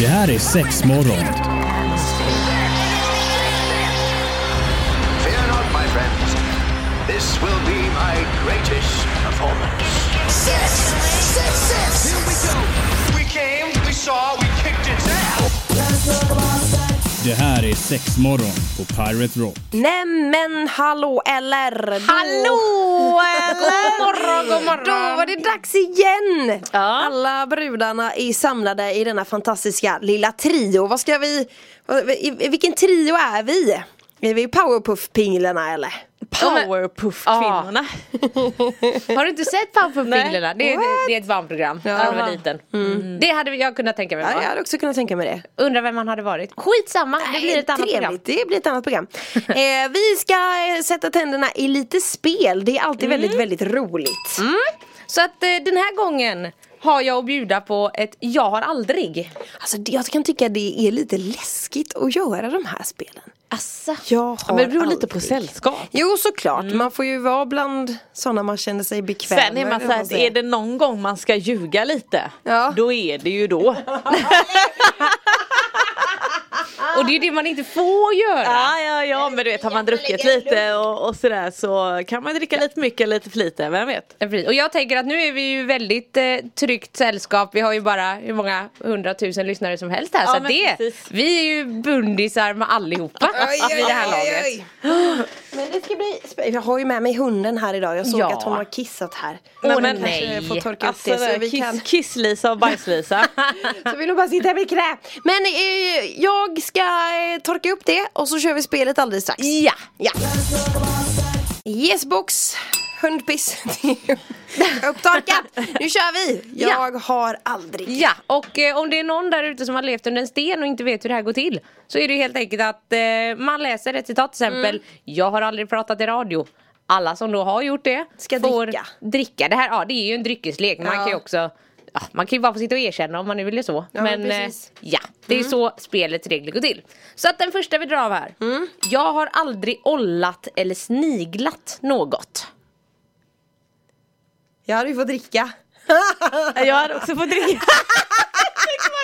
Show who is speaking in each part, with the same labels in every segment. Speaker 1: Det här är sex morgon.
Speaker 2: Fear not, my friends. This will be my greatest performance.
Speaker 3: Six, six, six.
Speaker 2: We came, we saw, we kicked its ass.
Speaker 1: Det här är sex morgon på Pirate Rock.
Speaker 4: Nej men hallå eller! Då...
Speaker 5: Hallå eller?
Speaker 4: God morgon, god morgon! Då var det dags igen!
Speaker 5: Ja.
Speaker 4: Alla brudarna är samlade i denna fantastiska lilla trio. Vad ska vi... vad- i- i Vilken trio är vi? Är vi Powerpuff-pinglarna eller?
Speaker 5: Powerpuff-kvinnorna. Har du inte sett Powerpuff-kvinnorna? Det, är- det,
Speaker 4: What?
Speaker 5: det är ett barnprogram.
Speaker 4: Ja. Mm.
Speaker 5: När jag var liten. Mm. Det hade jag kunnat tänka mig
Speaker 4: Ja, jag
Speaker 5: vara.
Speaker 4: hade också kunnat tänka mig det.
Speaker 5: Undrar vem man hade varit. Skitsamma, det blir ett annat program.
Speaker 4: Trevligt, det blir ett annat program. eh, vi ska eh, sätta tänderna i lite spel. Det är alltid väldigt, väldigt roligt.
Speaker 5: Mm. Så att eh, den här gången har jag att bjuda på ett jag har aldrig.
Speaker 4: Alltså, det- jag kan tycka det är lite läskigt att göra de här spelen.
Speaker 5: Asså.
Speaker 4: Jag
Speaker 6: Ja,
Speaker 4: har
Speaker 6: men det beror lite
Speaker 4: aldrig-
Speaker 6: på sällskap.
Speaker 4: Jo såklart, man får ju vara bland sådana man känner sig bekväm
Speaker 6: Sen är man
Speaker 4: med,
Speaker 6: så
Speaker 4: vad
Speaker 6: här,
Speaker 4: man
Speaker 6: är
Speaker 4: säger.
Speaker 6: det någon gång man ska ljuga lite,
Speaker 4: Ja.
Speaker 6: då är det ju då.
Speaker 5: Och det är ju det man inte får göra.
Speaker 6: Ja, ja, ja, men du vet har man druckit lite och, och sådär så kan man dricka lite mycket, lite för lite, vem vet?
Speaker 5: Ja, precis. Och jag tänker att nu är vi ju väldigt eh, tryggt sällskap. Vi har ju bara hur många hundratusen lyssnare som helst här.
Speaker 6: Ja,
Speaker 5: så att
Speaker 6: men
Speaker 5: det,
Speaker 6: precis.
Speaker 5: vi är ju bundisar med allihopa vid det här laget.
Speaker 4: Men det ska bli spä- Jag har ju med mig hunden här idag, jag såg
Speaker 5: Ja.
Speaker 4: att hon har kissat här.
Speaker 5: Åh,
Speaker 4: Hon
Speaker 5: nej.
Speaker 4: kanske får torka
Speaker 6: Alltså
Speaker 4: upp det
Speaker 6: där,
Speaker 4: så vi
Speaker 6: kiss,
Speaker 4: kan
Speaker 6: Kiss-Lisa och bajs-Lisa.
Speaker 4: Så vill hon bara sitta med knä. Men eh, jag ska eh, torka upp det och så kör vi spelet alldeles strax.
Speaker 5: Ja.
Speaker 4: Ja. Yes box, hundpiss. Upptorkat. Nu kör vi. Jag har aldrig.
Speaker 5: Ja, och eh, om det är någon där ute som har levt under en sten och inte vet hur det här går till så är det ju helt enkelt att eh, man läser ett citat till exempel
Speaker 4: Mm.
Speaker 5: Jag har aldrig pratat i radio Alla som då har gjort det
Speaker 4: Ska dricka.
Speaker 5: dricka. Det här ja, det är ju en dryckeslek. Man
Speaker 4: Ja.
Speaker 5: kan ju också ja, man kan ju bara få sitta och erkänna om man nu vill det så.
Speaker 4: Ja,
Speaker 5: men eh,
Speaker 4: precis. Mm.
Speaker 5: ja, det är så spelets regler går till. Så att den första vi drar av här.
Speaker 4: Mm.
Speaker 5: Jag har aldrig ollat eller sniglat något.
Speaker 4: Jag hade ju fått dricka.
Speaker 6: Jag hade också fått dricka.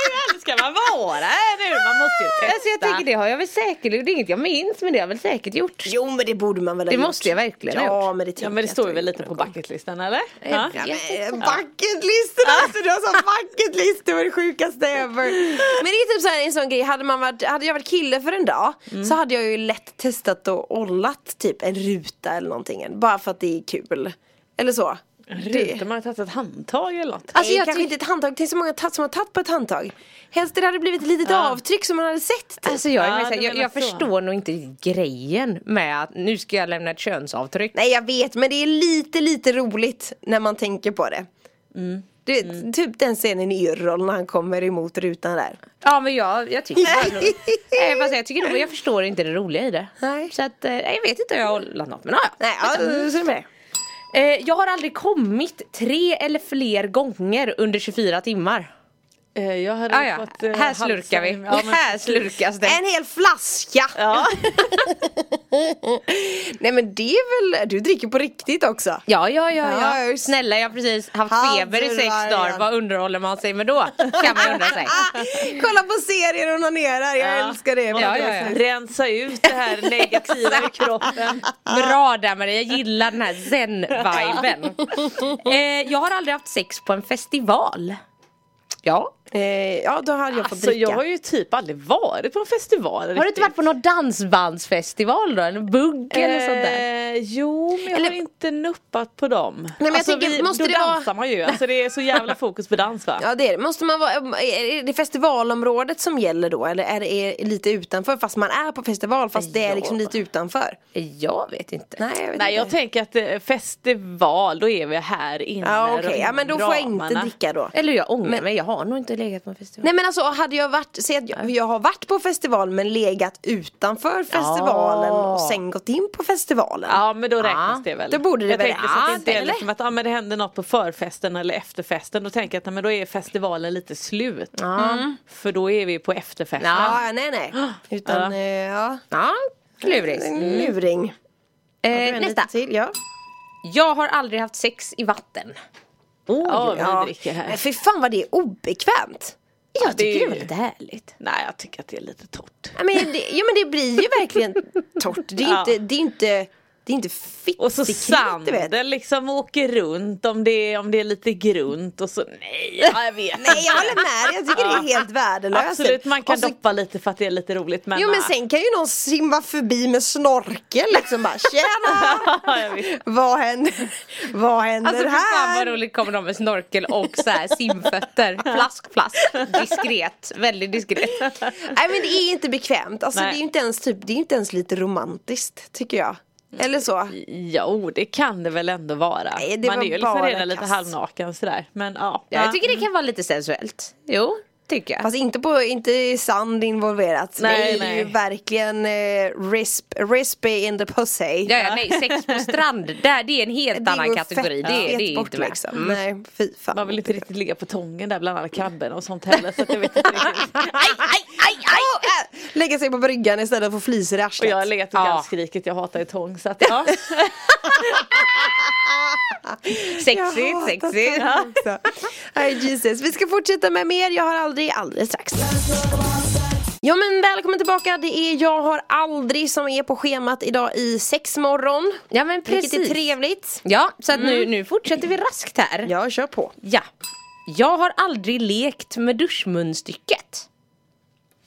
Speaker 6: Hur ärlig ska man vara? Eller hur? Man måste ju testa.
Speaker 5: Alltså jag tänker det har jag väl säkert gjort. Det är inget jag minns men det har jag väl säkert gjort.
Speaker 4: Jo men det borde man väl ha
Speaker 5: Det
Speaker 4: gjort.
Speaker 5: måste jag verkligen ha
Speaker 4: Ja
Speaker 5: gjort.
Speaker 4: men det tänker
Speaker 6: Ja men det
Speaker 5: typ
Speaker 4: jag
Speaker 6: står
Speaker 4: att
Speaker 6: ju
Speaker 4: jag
Speaker 6: väl
Speaker 4: gjort
Speaker 6: lite på
Speaker 4: någon gång.
Speaker 6: bucketlistan eller?
Speaker 5: Ja.
Speaker 4: Ja, men, eh, Bucketlistorna, alltså du har sån bucketlist, det var det sjukaste ever. Men det är typ så här, en sån grej, hade, man varit, hade jag varit kille för en dag så hade jag ju lätt testat och ollat typ en ruta eller någonting. Bara för att det är kul. Eller så.
Speaker 6: Rutor, man har tagit ett handtag eller något.
Speaker 4: Alltså
Speaker 5: Nej,
Speaker 4: jag kanske
Speaker 5: kanske
Speaker 4: inte ett handtag, tänk så många tatt, som har tagit på ett handtag. Helst det hade blivit ett litet avtryck som man hade sett. typ.
Speaker 5: Alltså jag, är
Speaker 6: Ja,
Speaker 5: med, så här,
Speaker 6: du
Speaker 5: jag,
Speaker 6: menar
Speaker 5: jag
Speaker 6: så.
Speaker 5: förstår nog inte riktigt grejen med att nu ska jag lämna ett könsavtryck.
Speaker 4: Nej jag vet men det är lite lite roligt när man tänker på det.
Speaker 5: Mm.
Speaker 4: Du, Typ den scenen i Yrrol när han kommer emot rutan där.
Speaker 5: Ja men jag, jag tycker Nej. Nej, fast jag, tycker nog, jag förstår inte det roliga i det.
Speaker 4: Nej.
Speaker 5: Så att, eh, jag vet inte om jag har hållit något men ja, Mm. ja.
Speaker 4: Nej, ja, så är det med det.
Speaker 5: Eh, Jag har aldrig kommit tre eller fler gånger under 24 timmar.
Speaker 6: Eh, Jag hade
Speaker 5: Ah, Ja, ja.
Speaker 6: fått eh,
Speaker 5: Här
Speaker 6: halsen
Speaker 5: slurkar vi.
Speaker 6: i- Ja, men
Speaker 5: Här slurkas det.
Speaker 4: En hel flaska!
Speaker 6: Ja.
Speaker 4: Nej men det är väl, du dricker på riktigt också?
Speaker 5: Ja, ja, ja,
Speaker 4: Ja,
Speaker 5: ja.
Speaker 4: just-
Speaker 5: Snälla jag har precis haft
Speaker 4: Halsen
Speaker 5: feber i sex
Speaker 4: var
Speaker 5: dagar.
Speaker 4: igen.
Speaker 5: Vad underhåller man sig med då? Kan man undra sig.
Speaker 4: Kolla på serien och onanerar, jag
Speaker 6: Ja.
Speaker 4: älskar det!
Speaker 5: Ja, ja, ja.
Speaker 6: Rensa ut det här negativa i kroppen.
Speaker 5: Bra där Maria, jag gillar den här zen-viben. Eh, jag har aldrig haft sex på en festival. Ja.
Speaker 4: Eh, ja då hade jag fått
Speaker 6: Alltså
Speaker 4: dricka.
Speaker 6: jag har ju typ aldrig varit på en festival
Speaker 5: Har du inte varit på någon dansbandsfestival då? Eller bugg eller sånt där?
Speaker 6: Eh, jo, men jag
Speaker 4: Eller-
Speaker 6: har inte nuppat på dem. Nej,
Speaker 4: men jag tänker, måste
Speaker 6: då
Speaker 4: det vara-
Speaker 6: dansar man ju. Alltså, det är så jävla fokus på dans va?
Speaker 4: Ja det är det. Måste man vara, är det festivalområdet som gäller då eller är det är lite utanför fast man är på festival fast det är liksom
Speaker 5: Ja.
Speaker 4: lite utanför?
Speaker 5: Jag vet inte.
Speaker 4: Nej jag vet
Speaker 6: Nej jag
Speaker 4: inte.
Speaker 6: tänker att eh, festival, då är vi här inne
Speaker 4: Ja okej,
Speaker 6: runt
Speaker 4: ja, men då får jag inte
Speaker 6: ramarna.
Speaker 4: dricka då.
Speaker 5: Eller jag ångrar mig, jag har nog inte legat på en festival.
Speaker 4: Nej men alltså hade jag varit, säg att jag, jag har varit på festival men legat utanför festivalen och sen gått in på festivalen.
Speaker 6: Ja men då räknas
Speaker 5: Ja,
Speaker 6: det väl.
Speaker 4: då borde det
Speaker 6: jag
Speaker 4: väl-
Speaker 6: tänkte så att
Speaker 4: ja,
Speaker 6: det inte är
Speaker 4: eller?
Speaker 6: liksom att ja, men det händer något på förfesten eller efterfesten. Då tänker jag att nej, men då är festivalen lite slut. Mm. För då är vi på efterfesten.
Speaker 4: Ja, nej nej. Utan, ja. Eh, ja.
Speaker 5: Ja, klurigt.
Speaker 4: En luring.
Speaker 5: Eh, nästa.
Speaker 4: Till, ja.
Speaker 5: Jag har aldrig haft sex i vatten.
Speaker 6: Åh, vad vi
Speaker 4: ja. Eh,
Speaker 6: dricker här.
Speaker 4: Men fy fan vad det är obekvämt. Jag
Speaker 6: det
Speaker 4: tycker det,
Speaker 6: är
Speaker 4: var
Speaker 6: ju-
Speaker 4: lite härligt.
Speaker 6: Nej jag tycker att det är lite torrt.
Speaker 4: Ja, men det, ja men det blir ju verkligen torrt. Det är
Speaker 6: Ja.
Speaker 4: inte, det är inte, det är inte fittigt.
Speaker 6: Och så
Speaker 4: du vet.
Speaker 6: sanden liksom åker runt om det, är- om det är lite grunt och så nej ja, jag vet
Speaker 4: Nej jag håller med dig. jag tycker det är helt värdelöst.
Speaker 6: Absolut man kan
Speaker 4: Och så,
Speaker 6: doppa lite för att det är lite roligt men,
Speaker 4: Jo men
Speaker 6: ah,
Speaker 4: sen kan ju någon simma förbi med snorkel liksom bara tjena!
Speaker 6: ja, jag vet.
Speaker 4: vad händer, vad händer
Speaker 5: Alltså fy fan vad
Speaker 4: här?
Speaker 5: roligt kommer de med snorkel och så här simfötter. Flask, flask. Diskret. Väldigt diskret.
Speaker 4: Nej men det är inte bekvämt, alltså, det
Speaker 6: Nej.
Speaker 4: är ju inte ens typ, det är inte ens lite romantiskt tycker jag. Eller så.
Speaker 6: Jo det kan det väl ändå vara.
Speaker 4: Nej, det
Speaker 6: man
Speaker 4: var
Speaker 6: är ju liksom
Speaker 4: bara
Speaker 6: redan lite
Speaker 4: kass.
Speaker 6: halvnaken sådär. Men ja.
Speaker 5: Ja, jag tycker det kan vara lite sensuellt. Jo, tycker jag.
Speaker 4: Fast inte, på, inte i sand involverat.
Speaker 6: Nej,
Speaker 4: det är ju
Speaker 6: nej.
Speaker 4: verkligen eh, risp, rispy in the pussy.
Speaker 5: Ja, ja, nej, sex på strand, där, det är en helt
Speaker 4: Det
Speaker 5: annan
Speaker 4: går
Speaker 5: kategori.
Speaker 4: fett-
Speaker 5: Det, det är
Speaker 4: fett
Speaker 5: inte med.
Speaker 4: liksom. Nej, fy fan.
Speaker 6: Man vill inte riktigt ligga på tången där bland alla krabben och sånt heller så att jag vet inte riktigt.
Speaker 4: Aj, aj, aj, aj! Äh, lägga sig på bryggan istället för flisor i
Speaker 6: Och
Speaker 4: arslet.
Speaker 6: jag har legat och
Speaker 5: Ja.
Speaker 6: gallskrikit, jag hatar ju tång så att ja.
Speaker 4: Jag
Speaker 5: Sexigt,
Speaker 4: hatar
Speaker 5: sexigt.
Speaker 4: sånt också. Ay, Jesus. Vi ska fortsätta med mer Jag har aldrig, alldeles strax. Ja men välkommen tillbaka, det är Jag har aldrig som är på schemat idag i sexmorgon.
Speaker 5: Ja, men
Speaker 4: Vilket är
Speaker 5: precis.
Speaker 4: trevligt.
Speaker 5: Ja, så att
Speaker 4: Mm.
Speaker 5: nu, nu fortsätter vi raskt här. Ja.
Speaker 4: Jag kör på.
Speaker 5: Jag har aldrig lekt med duschmunstycket.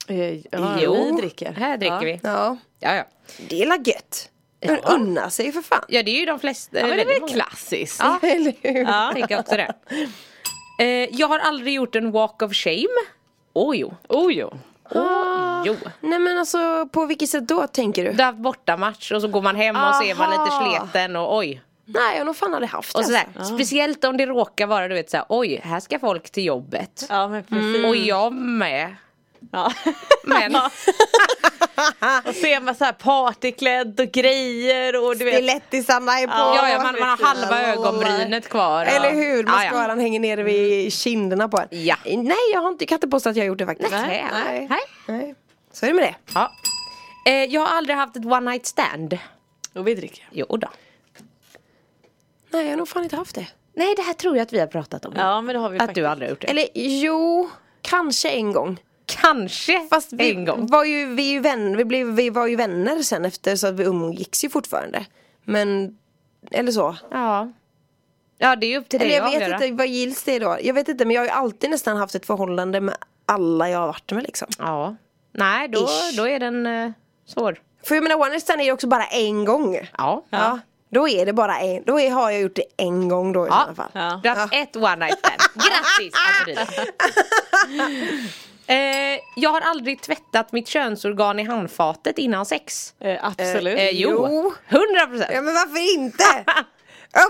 Speaker 6: Eh, ja, vi dricker.
Speaker 5: Här dricker vi.
Speaker 4: Ja,
Speaker 5: Ja, ja.
Speaker 4: det är la gött. Men unna sig för fan.
Speaker 5: ja, det är ju de flesta.
Speaker 6: Ja, men det är väl
Speaker 5: många.
Speaker 6: klassiskt.
Speaker 5: Ja,
Speaker 4: Eller hur?
Speaker 5: jag tänker också det. Eh, jag har aldrig gjort en walk of shame. Ah. Åh oh, jo. Oh,
Speaker 6: Oh, jo.
Speaker 5: jo.
Speaker 4: Nej men alltså på vilket sätt då tänker du?
Speaker 5: Du har haft bortamatch och så går man hem och så är man lite
Speaker 4: Aha.
Speaker 5: sleten och oj.
Speaker 4: Nej jag har nog fan aldrig haft
Speaker 5: Och
Speaker 4: det.
Speaker 5: sådär. Speciellt om det Ah. råkar vara du vet såhär, oj här ska folk till jobbet.
Speaker 6: Ja men
Speaker 4: Mm.
Speaker 6: precis.
Speaker 5: Och jag med.
Speaker 6: Ja.
Speaker 5: Men
Speaker 6: Och så är man så här partyklädd och grejer och du vet.
Speaker 4: Stilettisarna är på.
Speaker 5: ja, ja, man, man har halva
Speaker 4: Lalala.
Speaker 5: ögonbrynet kvar. och-
Speaker 4: Eller hur,
Speaker 5: Ja, ja.
Speaker 4: mascaran hänger nere vid kinderna på en.
Speaker 5: Ja.
Speaker 4: Nej jag har inte, jag kan inte påstå att jag har gjort det faktiskt.
Speaker 5: Nej, nej. nej.
Speaker 4: Nej. Så är det med det.
Speaker 5: Ja. Eh, jag har aldrig haft ett one night stand.
Speaker 6: Och vi dricker.
Speaker 5: Jo då.
Speaker 4: Nej jag har nog fan inte haft det.
Speaker 5: Nej det här tror jag att vi har pratat om.
Speaker 6: Ja men det har vi
Speaker 5: Att
Speaker 6: faktiskt.
Speaker 5: du aldrig har gjort det. Eller
Speaker 4: Eller jo, kanske en gång.
Speaker 5: kanske
Speaker 4: Fast vi,
Speaker 5: en gång.
Speaker 4: Var ju, vi, är ju vän, vi, blev, vi var ju vänner sen efter så att vi umgicks ju fortfarande. Men, eller så.
Speaker 5: Ja. Ja det är upp till dig
Speaker 4: Eller jag
Speaker 5: att
Speaker 4: vet
Speaker 5: avgöra.
Speaker 4: inte, vad gills det då? Jag vet inte men jag har ju alltid nästan haft ett förhållande med alla jag har varit med liksom.
Speaker 5: Ja. Nej då,
Speaker 4: Ish.
Speaker 5: då är den eh, svår.
Speaker 4: För jag menar one night stand är ju också bara en gång. Ja.
Speaker 5: Ja.
Speaker 4: Då är det bara en, då är, har jag gjort det en gång då i sådana fall.
Speaker 6: Ja.
Speaker 5: Du har haft ett one night stand. Grattis Antonina! eh, jag har aldrig tvättat mitt könsorgan i handfatet innan sex.
Speaker 6: Eh, absolut.
Speaker 5: Eh, jo,
Speaker 4: Jo.
Speaker 5: hundra procent.
Speaker 4: Ja men varför inte?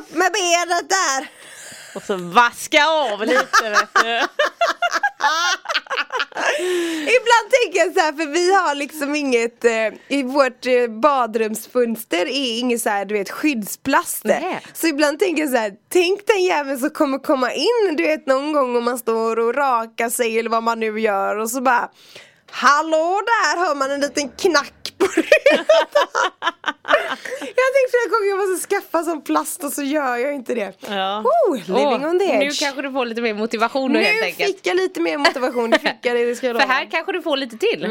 Speaker 4: Upp med benet där!
Speaker 6: Och så Alltså, vaska av lite vet du.
Speaker 4: Ibland tänker jag så här för vi har liksom inget eh, i vårt eh, badrumsfönster är inget så här du vet skyddsplaster.
Speaker 5: Nej.
Speaker 4: Så ibland tänker jag så här tänk den jäveln som kommer komma in du vet någon gång om man står och rakar sig eller vad man nu gör och så bara Hallå där hör man en liten knack på rutan. jag har tänkt flera gånger jag måste skaffa sån plast och så gör jag inte det.
Speaker 6: Ja.
Speaker 4: Oh, living
Speaker 5: Åh,
Speaker 4: on the edge.
Speaker 5: Nu kanske du får lite mer motivation då,
Speaker 4: Nu
Speaker 5: helt enkelt.
Speaker 4: fick jag lite mer motivation, det fick jag det, det ska jag
Speaker 5: För
Speaker 4: lova. Mm.
Speaker 5: här kanske du får lite till.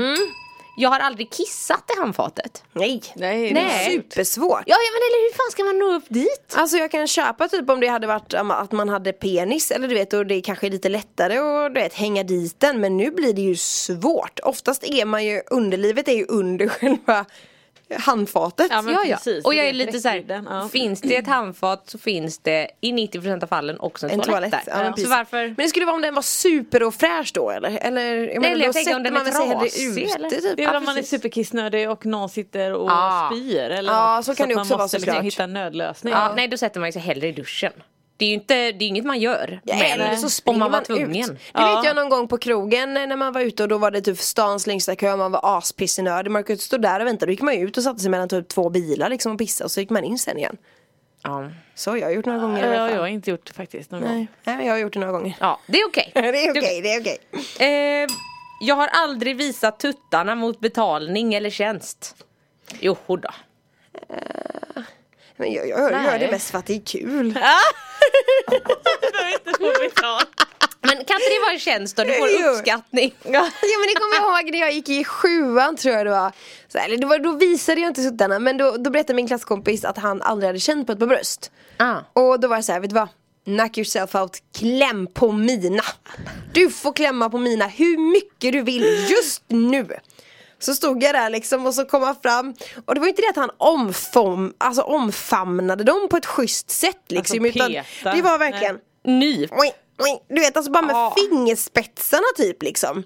Speaker 5: Jag har aldrig kissat i handfatet.
Speaker 4: Nej.
Speaker 6: Nej,
Speaker 4: Det
Speaker 6: det-
Speaker 4: är
Speaker 5: Nej.
Speaker 4: supersvårt.
Speaker 5: Ja, ja men eller hur fan ska man nå upp dit?
Speaker 4: Alltså jag kan köpa typ om det hade varit um, att man hade penis eller du vet och det kanske är lite lättare att du vet, hänga dit den men nu blir det ju svårt. Oftast är man ju, underlivet är ju under själva handfatet.
Speaker 6: Ja, men
Speaker 5: ja, ja.
Speaker 6: precis,
Speaker 5: Och jag
Speaker 6: det
Speaker 5: är lite såhär,
Speaker 6: räckvidden, ja.
Speaker 5: finns det ett handfat så finns det i 90% av fallen också en,
Speaker 4: en toalett.
Speaker 5: där.
Speaker 4: Ja, men
Speaker 5: så
Speaker 4: precis.
Speaker 5: varför?
Speaker 4: Men det skulle vara om den var super och fräsch då eller? Eller jag, menar,
Speaker 5: eller jag
Speaker 4: då
Speaker 5: tänker om
Speaker 4: sätter
Speaker 5: den
Speaker 4: man
Speaker 5: är
Speaker 4: väl sig hellre
Speaker 5: trasig,
Speaker 4: ute,
Speaker 5: eller?
Speaker 4: Typ.
Speaker 6: Det är
Speaker 4: Ja,
Speaker 6: väl om man är
Speaker 4: precis.
Speaker 6: superkissnödig och någon sitter och
Speaker 5: Ah.
Speaker 6: spyr eller
Speaker 4: Ja,
Speaker 6: något.
Speaker 4: så kan det
Speaker 6: att
Speaker 4: också
Speaker 6: man
Speaker 4: vara
Speaker 6: måste liksom
Speaker 4: såklart.
Speaker 6: hitta en nödlösning.
Speaker 5: Ja, nej då sätter man sig hellre i duschen. Det är ju inte, det är inget man gör.
Speaker 4: Ja,
Speaker 5: men
Speaker 4: eller så springer
Speaker 5: om man
Speaker 4: man,
Speaker 5: var
Speaker 4: ut.
Speaker 5: tvungen.
Speaker 4: Det vet jag någon gång på krogen eh, när man var ute och då var det typ stans längsta kö och man var aspissnödig. Man kunde inte stå där och vänta. Då gick man ju ut och satte sig mellan typ två bilar liksom och pissade och så gick man in sen igen.
Speaker 5: Ja.
Speaker 4: Så har jag har gjort några gånger i
Speaker 6: Det
Speaker 4: alla
Speaker 6: har
Speaker 4: fall.
Speaker 6: jag inte gjort faktiskt någon gång.
Speaker 4: Nej, men jag har gjort det några gånger.
Speaker 5: ja, det är okej.
Speaker 4: Det är okej, det är okej.
Speaker 5: Eh, jag har aldrig visat tuttarna mot betalning eller tjänst. Jo då.
Speaker 4: Men jag, jag, jag gör
Speaker 5: Nej.
Speaker 4: det mest för att det är kul.
Speaker 6: Du har inte fått betalt.
Speaker 5: Men kan inte det vara en tjänst då? Du får
Speaker 4: Jo.
Speaker 5: uppskattning.
Speaker 4: Ja men det kommer jag ihåg när jag gick i sjuan tror jag det var. Så här, eller det var då visade jag inte suttarna men då, då berättade min klasskompis att han aldrig hade känt på ett par bröst.
Speaker 5: Ah.
Speaker 4: Och då var det så här, vet du vad? Knock yourself out, kläm på mina. Du får klämma på mina hur mycket du vill just nu. Så stod jag där liksom och så kom han fram och det var ju inte det att han omfom, alltså omfamnade dem på ett schysst sätt liksom
Speaker 6: Alltså,
Speaker 4: utan
Speaker 6: peta.
Speaker 4: det var verkligen
Speaker 5: Nyp.
Speaker 4: Oj, oj. Du vet alltså bara med
Speaker 6: Ja. Mm.
Speaker 4: fingerspetsarna typ liksom.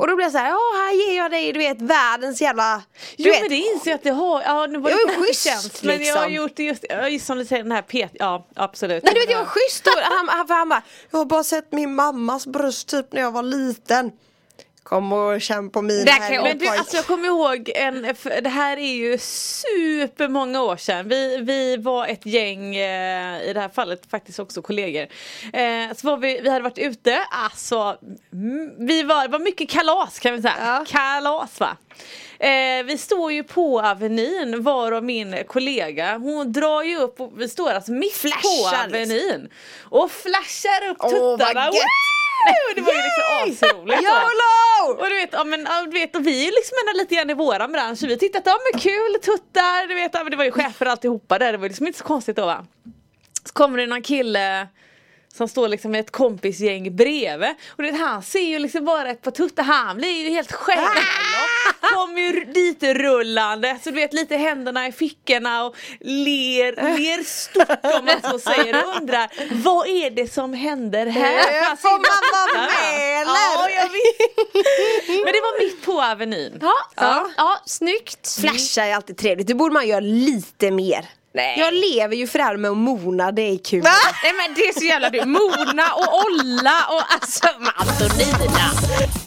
Speaker 4: Och då blir jag så här, ja här ger jag dig du vet världens jävla du
Speaker 6: Jo
Speaker 4: vet,
Speaker 6: men det inser jag att det har, ja nu var
Speaker 4: Jag
Speaker 6: det
Speaker 4: är
Speaker 6: inte
Speaker 4: schysst,
Speaker 6: känt, Men jag har
Speaker 4: liksom.
Speaker 6: gjort det just, ja, just som du säger den här pet, ja absolut.
Speaker 4: Nej du vet jag var schysst och han, han, för han bara Jag har bara sett min mammas bröst typ när jag var liten Kom och känn på mina
Speaker 5: Det här kan jag-
Speaker 6: Men du,
Speaker 4: pojk.
Speaker 6: alltså jag kommer ihåg, en, för det här är ju supermånga år sedan. Vi, vi var ett gäng, eh, i det här fallet faktiskt också kollegor. Eh, så var vi, vi hade varit ute, alltså mm, vi var, det var mycket kalas kan vi säga.
Speaker 4: Ja.
Speaker 6: Kalas va. Eh, vi står ju på Avenyn, var och min kollega, hon drar ju upp, och vi står alltså mitt på
Speaker 4: Flashar liksom.
Speaker 6: Avenyn. Och flashar upp
Speaker 4: Åh, vad
Speaker 6: tuttarna.
Speaker 4: gött.
Speaker 6: Wow! Det var ju liksom asroligt. va?
Speaker 4: YOLO!
Speaker 6: Och du vet, ja, men, ja, du vet och vi är liksom ändå lite grann i våran bransch vi tyckte att ja, men kul, tuttar, du vet, ja, men det var ju chefer alltihopa där, det var ju liksom inte så konstigt då va. Så kommer det någon kille som står liksom med ett kompisgäng bredvid och du vet, han ser ju liksom bara ett par tuttar, han blir ju helt själv. Kommer ju dit rullande, så du vet lite händerna i fickorna och ler, ler stort om man så säger och undrar vad är det som händer här? Alltså,
Speaker 4: Eh, Får man vara med
Speaker 6: Ja,
Speaker 4: eller?
Speaker 6: jag vet. Men det var mitt på Avenyn.
Speaker 5: Ja, ja. ja snyggt.
Speaker 4: Flasha är alltid trevligt, det borde man göra lite mer
Speaker 5: Nej.
Speaker 4: Jag lever ju för det här med att mona, det är kul
Speaker 5: Nej men det är så jävla du. Mona och Olla och alltså Antonina.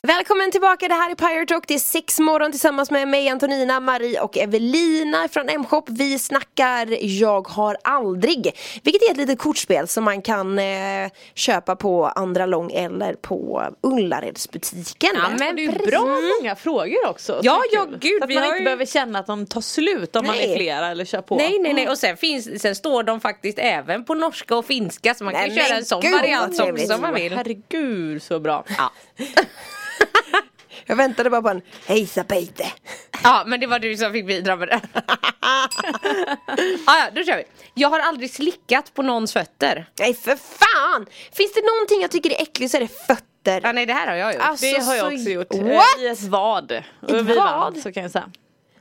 Speaker 4: Välkommen tillbaka, det här är Pirate Rock. Det är sex morgon tillsammans med mig, Antonina, Marie och Evelina från M-shop. Vi snackar Jag har aldrig, vilket är ett litet kortspel som man kan eh, köpa på Andra Lång eller på Ullaredsbutiken.
Speaker 5: Ja, men
Speaker 6: Det
Speaker 5: det
Speaker 6: är ju bra många frågor också.
Speaker 5: Ja,
Speaker 6: Så kul.
Speaker 5: ja, gud,
Speaker 6: Så att
Speaker 5: vi
Speaker 6: man
Speaker 5: har
Speaker 6: inte
Speaker 5: ju-
Speaker 6: behöver känna att de tar slut om man
Speaker 4: Nej.
Speaker 6: är flera eller kör på.
Speaker 5: Nej nej nej och sen, finns, sen står de faktiskt även på norska och finska så man kan
Speaker 4: Nej,
Speaker 5: ju köra
Speaker 4: men
Speaker 5: en sån
Speaker 4: gud,
Speaker 5: variant
Speaker 4: vad
Speaker 5: som,
Speaker 4: trevligt.
Speaker 5: som man vill.
Speaker 6: Herregud så bra.
Speaker 5: Ja.
Speaker 4: Jag väntade bara på en hejsa Peite.
Speaker 5: ja men det var du som fick bidra med det. ja, ja då kör vi. Jag har aldrig slickat på någons fötter.
Speaker 4: Nej för fan! Finns det någonting jag tycker är äckligt så är det fötter.
Speaker 5: Ja, nej det här har jag gjort.
Speaker 4: Alltså,
Speaker 6: Det har jag
Speaker 4: så-
Speaker 6: också gjort. eh,
Speaker 4: What?
Speaker 6: I ett vad. Och vi vann,
Speaker 4: vad?
Speaker 6: Så kan jag säga.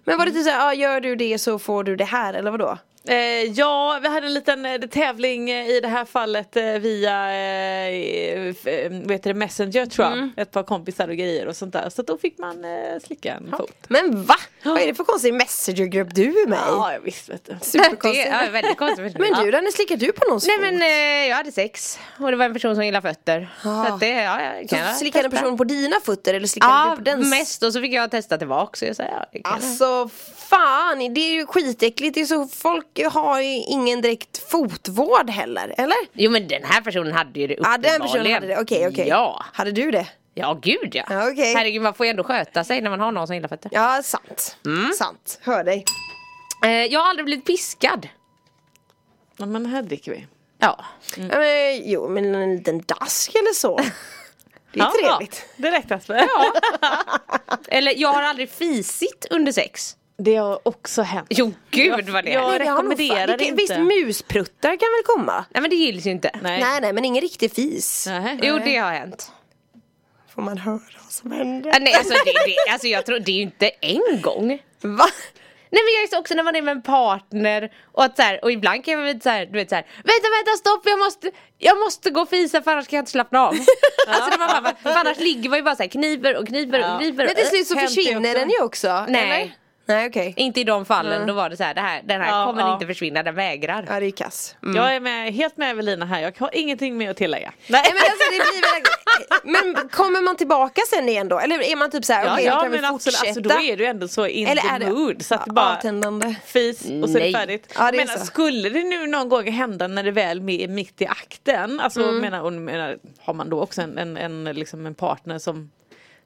Speaker 4: Men var det typ såhär, ah, gör du det så får du det här eller vadå?
Speaker 6: Eh, ja, vi hade en liten eh, tävling eh, i det här fallet eh, via eh, f- eh, vad heter det, Messenger tror jag. Ett par kompisar och grejer och sånt där. Så att då fick man eh, slicka en fot.
Speaker 4: Men va? Vad är det för konstig messengergrupp du är med i?
Speaker 6: Ja, visst vet du.
Speaker 5: typ det är ja, väldigt konstigt.
Speaker 4: Men du Danne, slickar du på någons
Speaker 5: Nej
Speaker 4: fot?
Speaker 5: men eh, jag hade sex och det var en person som gillar fötter. Så att det, ja, jag kan
Speaker 4: Så
Speaker 5: jag
Speaker 4: slickade
Speaker 5: testa.
Speaker 4: personen på dina fötter eller slickade
Speaker 5: Ja,
Speaker 4: du på dens?
Speaker 5: mest och så fick jag testa tillbaka så jag sa ja, det kan jag.
Speaker 4: Alltså fan, det är ju skitäckligt. Det är så, folk har ju ingen direkt fotvård heller, eller?
Speaker 5: Jo men den här personen hade ju det
Speaker 4: Ja,
Speaker 5: uppenbarligen.
Speaker 4: den personen hade det. Okej, okej.
Speaker 5: Ja,
Speaker 4: Hade du det?
Speaker 5: ja gud ja.
Speaker 4: Ja, okej.
Speaker 5: Herregud man får ju ändå sköta sig när man har någon som gillar fötter.
Speaker 4: Ja, sant.
Speaker 5: Mm.
Speaker 4: Sant. Hör dig.
Speaker 5: Eh, jag har aldrig blivit piskad.
Speaker 6: Ja, men här dricker vi.
Speaker 5: Ja.
Speaker 4: Mm. Ja, men, jo, men en liten dask eller så. Det är
Speaker 6: Ja,
Speaker 4: trevligt.
Speaker 6: Ja, det räknas väl.
Speaker 5: Eller jag har aldrig fisit under sex.
Speaker 6: Det har också hänt.
Speaker 5: Jo gud vad det är.
Speaker 4: det har
Speaker 6: jag-
Speaker 4: nog fan-
Speaker 6: rekommenderar det
Speaker 4: Vilka-
Speaker 6: inte.
Speaker 4: Visst, muspruttar kan väl komma?
Speaker 5: Nej men det gills ju inte.
Speaker 6: Nej.
Speaker 4: Nej, nej, men ingen riktig fis.
Speaker 6: Nähä.
Speaker 5: Jo det har hänt.
Speaker 4: Får man höra vad som händer?
Speaker 5: Ah, Nej alltså, det, det, alltså jag tror det är ju inte en gång.
Speaker 4: Va?
Speaker 5: Nej men jag är så också när man är med en partner och att så här, och ibland kan jag väl så här, du vet så här, vänta vänta stopp jag måste, jag måste gå och fisa för annars kan jag inte slappna av. alltså när man bara, för annars ligger man ju bara så här kniper och kniper
Speaker 6: Ja.
Speaker 5: och kniper.
Speaker 4: Men till slut så
Speaker 6: Hänt det
Speaker 4: försvinner
Speaker 6: också?
Speaker 4: den ju också.
Speaker 5: Nej.
Speaker 4: Eller? Nej, okej.
Speaker 5: Inte i de fallen, då var det så här, det här den här
Speaker 6: Ja,
Speaker 5: kommer
Speaker 6: ja.
Speaker 5: inte försvinna, den vägrar.
Speaker 4: Ja, det är kass.
Speaker 6: Jag är med, helt med Evelina här, jag har ingenting mer att tillägga.
Speaker 4: Mm. Nej, men, alltså, det blir väl... men kommer man tillbaka sen igen då? Eller är man typ såhär, okej då kan vi
Speaker 6: absolut,
Speaker 4: fortsätta?
Speaker 6: alltså, då är du ändå så in
Speaker 4: Eller
Speaker 6: the
Speaker 4: är det
Speaker 6: mood så att det
Speaker 4: ja,
Speaker 6: bara
Speaker 4: avtändande?
Speaker 6: fis och så är det
Speaker 5: Nej.
Speaker 6: färdigt.
Speaker 4: Ja, det är
Speaker 6: men alltså,
Speaker 4: så.
Speaker 6: skulle det nu någon gång hända när det väl är mitt i
Speaker 4: Mm.
Speaker 6: akten, alltså menar, och, menar, har man då också en, en, en, liksom en partner som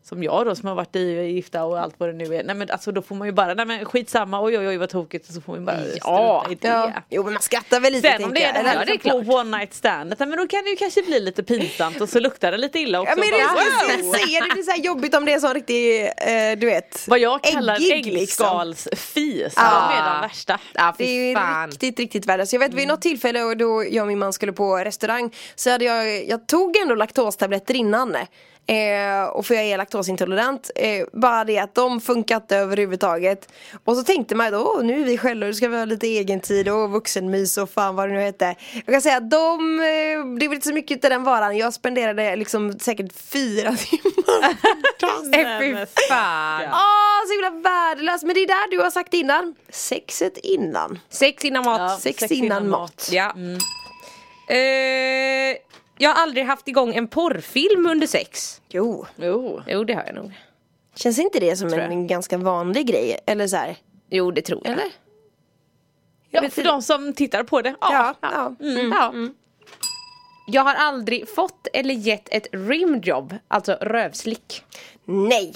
Speaker 6: som jag då som har varit i, gifta och allt vad det nu är. Nej men alltså då får man ju bara, nej men skitsamma, oj oj oj vad tokigt och så får man ju bara
Speaker 4: Ja.
Speaker 6: strunta i det.
Speaker 4: ja. Jo men man skrattar väl lite
Speaker 6: Sen om det är den
Speaker 4: eller?
Speaker 6: här liksom på one night standet, nej, men då kan det ju kanske bli lite pinsamt och så luktar det lite illa också.
Speaker 4: Ja men det
Speaker 6: Bara,
Speaker 4: är precis
Speaker 6: wow!
Speaker 4: det jag säger, det blir så här jobbigt om det är sån riktig, eh, du vet
Speaker 6: Vad jag kallar
Speaker 4: äggig,
Speaker 6: äggskalsfis,
Speaker 4: liksom. Ja.
Speaker 6: de är de värsta.
Speaker 5: Ja,
Speaker 4: Det är
Speaker 5: fy
Speaker 4: ju
Speaker 5: fan. Mm.
Speaker 4: riktigt, riktigt värdelöst. Jag vet vid något tillfälle och då jag och min man skulle på restaurang så hade jag, jag tog ändå laktostabletter innan. Eh, och för jag är laktosintolerant. Eh, bara det att de funkar inte överhuvudtaget. Och så tänkte man ju då, "Åh, nu är vi själva, nu ska vi ha lite egen tid och vuxenmys och fan vad det nu hette. Jag kan säga att de, eh, det var inte så mycket utav den varan. Jag spenderade liksom säkert fyra timmar.
Speaker 5: Eh, Fy fan.
Speaker 4: Åh, så himla värdelöst. Men det är där du har sagt innan. Sexet innan.
Speaker 5: Sex innan mat.
Speaker 6: Ja.
Speaker 4: Sex,
Speaker 6: Sex
Speaker 4: innan,
Speaker 6: innan
Speaker 4: mat.
Speaker 6: mat.
Speaker 5: Ja. Eh, jag har aldrig haft igång en porrfilm under sex.
Speaker 4: Jo.
Speaker 6: Jo.
Speaker 5: Jo det har jag nog.
Speaker 4: Känns inte det som en ganska vanlig grej? Eller så här.
Speaker 5: Jo det tror jag. Eller?
Speaker 6: Ja, för de som tittar på det.
Speaker 4: Ja, ja.
Speaker 5: Mm.
Speaker 6: Mm.
Speaker 5: Ja. Jag har aldrig fått eller gett ett rimjob, alltså rövslick.
Speaker 6: Mm.
Speaker 4: Nej.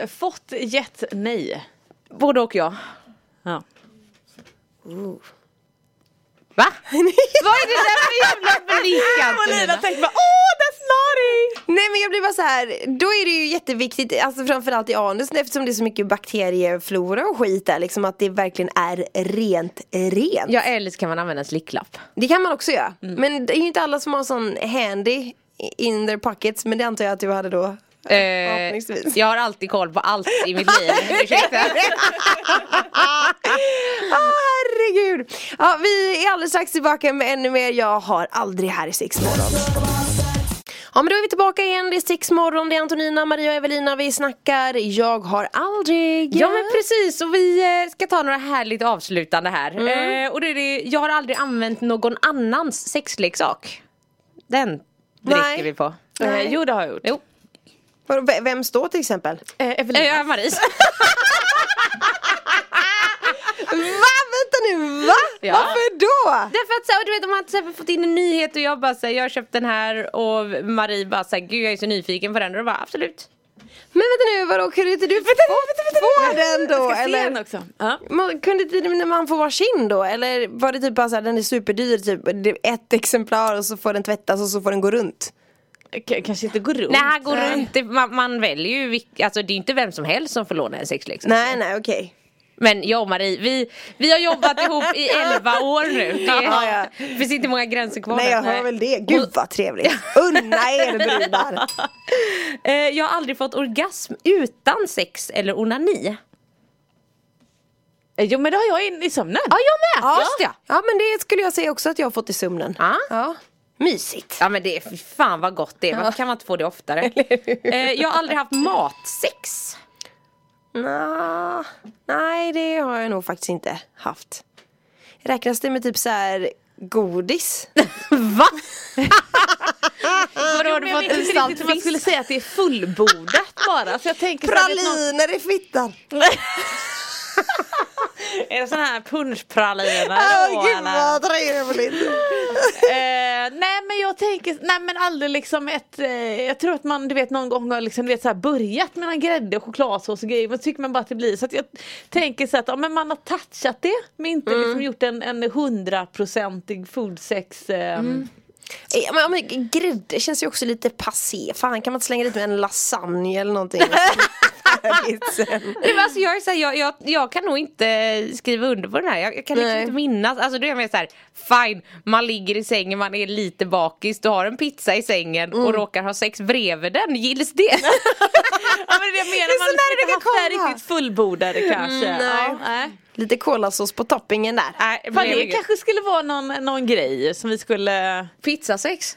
Speaker 6: Eh, fått, gett, nej.
Speaker 5: Både och jag.
Speaker 6: Ja.
Speaker 5: Va? Vad är det där för jävla blick
Speaker 6: Lina
Speaker 5: Antonina?
Speaker 6: tänkte bara åh that's naughty!
Speaker 4: Nej men jag blir bara så här. då är det ju jätteviktigt, alltså framförallt i anusen eftersom det är så mycket bakterieflora och skit där liksom att det verkligen är rent, rent.
Speaker 5: Ja eller så kan man använda en slicklapp.
Speaker 4: Det kan man också göra.
Speaker 6: Mm.
Speaker 4: Men det är ju inte alla som har sån handy in their pockets men det antar jag att du hade då.
Speaker 5: Eh,
Speaker 4: Förhoppningsvis.
Speaker 5: jag har alltid koll på allt i mitt liv. Ursäkta.
Speaker 4: Ah herregud! Ja, vi är alldeles strax tillbaka med ännu mer Jag har aldrig här i sex morgon. Ja men då är vi tillbaka igen, det är sex morgon, det är Antonina, Maria och Evelina vi snackar Jag har aldrig
Speaker 5: Ja men precis och vi eh, ska ta några härligt avslutande här.
Speaker 6: Mm.
Speaker 5: Eh, och det är det, jag har aldrig använt någon annans sexleksak. Den dricker
Speaker 4: Nej.
Speaker 5: vi på.
Speaker 4: Nej.
Speaker 6: Eh, jo det har jag gjort.
Speaker 5: Jo,
Speaker 4: Vadå, v- Vem står till exempel?
Speaker 6: Eh,
Speaker 5: eh,
Speaker 6: Evelina.
Speaker 5: jag är Maris.
Speaker 4: Va? Vänta nu, va?
Speaker 5: Ja.
Speaker 4: Varför då?
Speaker 5: Därför att så här, du vet, de har inte så här, fått in en nyhet och jag bara säger jag har köpt den här och Marie bara säger gud jag är så nyfiken på den och då bara absolut.
Speaker 4: Men vänta nu, vadå kunde inte du vänta, få, få den då?
Speaker 6: jag ska se
Speaker 4: Eller?
Speaker 6: den också. Ja.
Speaker 4: Man, kunde inte när man få varsin då? Eller var det typ bara såhär, den är superdyr, typ det är ett exemplar och så får den tvättas och så får den gå runt?
Speaker 6: K- kanske inte går runt.
Speaker 5: Nej här går det inte, man, man väljer ju, vilk- alltså det är inte vem som helst som får låna en sexleksak.
Speaker 4: Nej, nej, okej.
Speaker 5: Men jag och Marie, vi, vi har jobbat ihop i 11 år nu. Det,
Speaker 4: Ja, ja.
Speaker 5: det finns inte många gränser kvar.
Speaker 4: Nej,
Speaker 5: där.
Speaker 4: jag hör väl det. Gud vad trevligt. Unna er brudar.
Speaker 5: Eh, jag har aldrig fått orgasm utan sex eller onani.
Speaker 6: Eh, Jo men det har jag in i sömnen.
Speaker 5: Ja, jag med!
Speaker 4: Ja.
Speaker 5: Just ja.
Speaker 4: Ja, men det skulle jag säga också att jag har fått i sömnen.
Speaker 5: Ja.
Speaker 4: Ja. Mysigt.
Speaker 5: Ja men det är fy fan vad gott det är, varför kan man inte få det oftare? Eh, jag har aldrig haft matsex.
Speaker 4: Nå, nej, det har jag nog faktiskt inte haft. Räknas det med typ så här godis?
Speaker 5: Va? Vadå har
Speaker 6: Men
Speaker 5: du
Speaker 6: jag
Speaker 5: fått
Speaker 6: vet
Speaker 5: en
Speaker 6: inte riktigt om man
Speaker 5: saltfisk?
Speaker 6: skulle säga att det är fullbordat bara. Så jag tänker så här, vet någon-
Speaker 4: Praliner i fittan.
Speaker 6: Är det sådana här punschpraliner
Speaker 4: Åh,
Speaker 6: då
Speaker 4: gud
Speaker 6: eller?
Speaker 4: vad trevligt.
Speaker 6: Eh, nej men jag tänker, nej men aldrig liksom ett, eh, jag tror att man du vet någon gång har liksom, du vet, så här, börjat med någon grädde och chokladsås och grejer men så tycker man bara att det blir så att jag tänker så att ja, men man har touchat det men inte
Speaker 4: Mm.
Speaker 6: liksom gjort en, en hundraprocentig foodsex eh,
Speaker 4: Mm. Eh, Ja, men, men grädde känns ju också lite passé. Fan kan man inte slänga lite med en lasagne eller någonting? Färdigt sen.
Speaker 5: Nej, men alltså jag, är så här, jag, jag, jag kan nog inte skriva under på den här, jag, jag kan liksom
Speaker 4: Nej.
Speaker 5: inte minnas. Alltså då är jag mer såhär, fine, man ligger i sängen, man är lite bakis, du har en pizza i sängen
Speaker 6: Mm.
Speaker 5: och råkar ha sex bredvid den, gills det?
Speaker 6: Ja men det är det jag menar,
Speaker 4: Det är så
Speaker 6: man
Speaker 4: nära
Speaker 6: har
Speaker 4: det
Speaker 6: liksom
Speaker 4: kan
Speaker 6: inte haft det här
Speaker 4: komma. Mm,
Speaker 6: riktigt fullbordade kanske.
Speaker 4: nej.
Speaker 6: Ja, nej.
Speaker 4: Lite kolasås på toppingen där.
Speaker 5: Nej,
Speaker 6: Fan,
Speaker 5: blev
Speaker 6: det
Speaker 5: inget.
Speaker 6: kanske skulle vara någon, någon grej som vi skulle
Speaker 5: Pizzasex?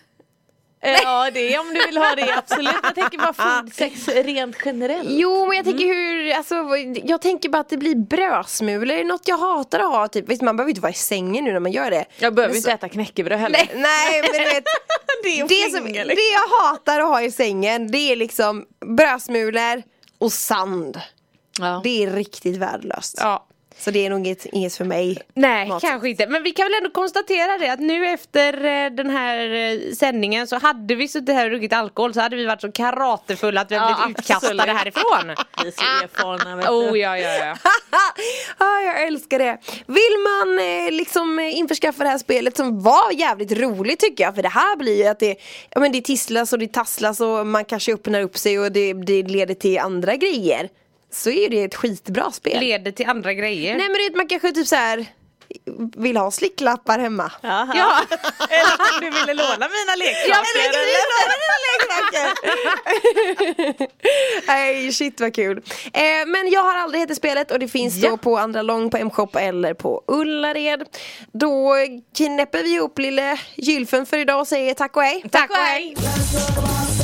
Speaker 6: Eh, Ja det är om du vill ha det absolut. Jag tänker bara foodsex rent generellt.
Speaker 4: Jo men jag tänker
Speaker 6: Mm.
Speaker 4: hur, alltså, jag tänker bara att det blir brödsmulor, det är något jag hatar att ha typ. Visst man behöver inte vara i sängen nu när man gör det.
Speaker 6: Jag behöver
Speaker 4: Men
Speaker 6: inte äta knäckebröd heller. liksom.
Speaker 4: Nej, nej men du vet,
Speaker 6: det är
Speaker 4: det, som, det jag hatar att ha i sängen det är liksom brödsmulor och sand.
Speaker 6: Ja.
Speaker 4: Det är riktigt värdelöst.
Speaker 5: Ja.
Speaker 4: Så det är nog inget, inget för mig.
Speaker 5: Nej,
Speaker 4: Mat.
Speaker 5: kanske inte. Men vi kan väl ändå konstatera det att nu efter eh, den här eh, sändningen så hade vi suttit här och druckit alkohol så hade vi varit så karatefulla att vi hade
Speaker 6: Ja,
Speaker 5: blivit utkastade
Speaker 6: absolut.
Speaker 5: härifrån.
Speaker 6: Vi är så erfarna vet du.
Speaker 5: Oh ja, ja, ja.
Speaker 4: ah, jag älskar det. Vill man eh, liksom eh, införskaffa det här spelet som var jävligt roligt tycker jag. För det här blir ju att det, ja, men det tisslas och det tasslas och man kanske öppnar upp sig och det, det leder till andra grejer. Så är det ett skitbra spel.
Speaker 5: Leder till andra grejer.
Speaker 4: Nej men du vet man kanske typ så här vill ha slicklappar hemma.
Speaker 6: Jaha.
Speaker 5: Ja.
Speaker 6: Eller om du ville låna mina leksaker.
Speaker 4: Eller
Speaker 6: eller?
Speaker 4: Nej shit vad kul. Eh, men jag har aldrig heter spelet och det finns då på Andra Lång, på M-shop eller på Ullared. Då knäpper vi ihop lille gylfen för idag och säger tack och hej.
Speaker 5: Tack och hej!
Speaker 3: Let's talk about sex.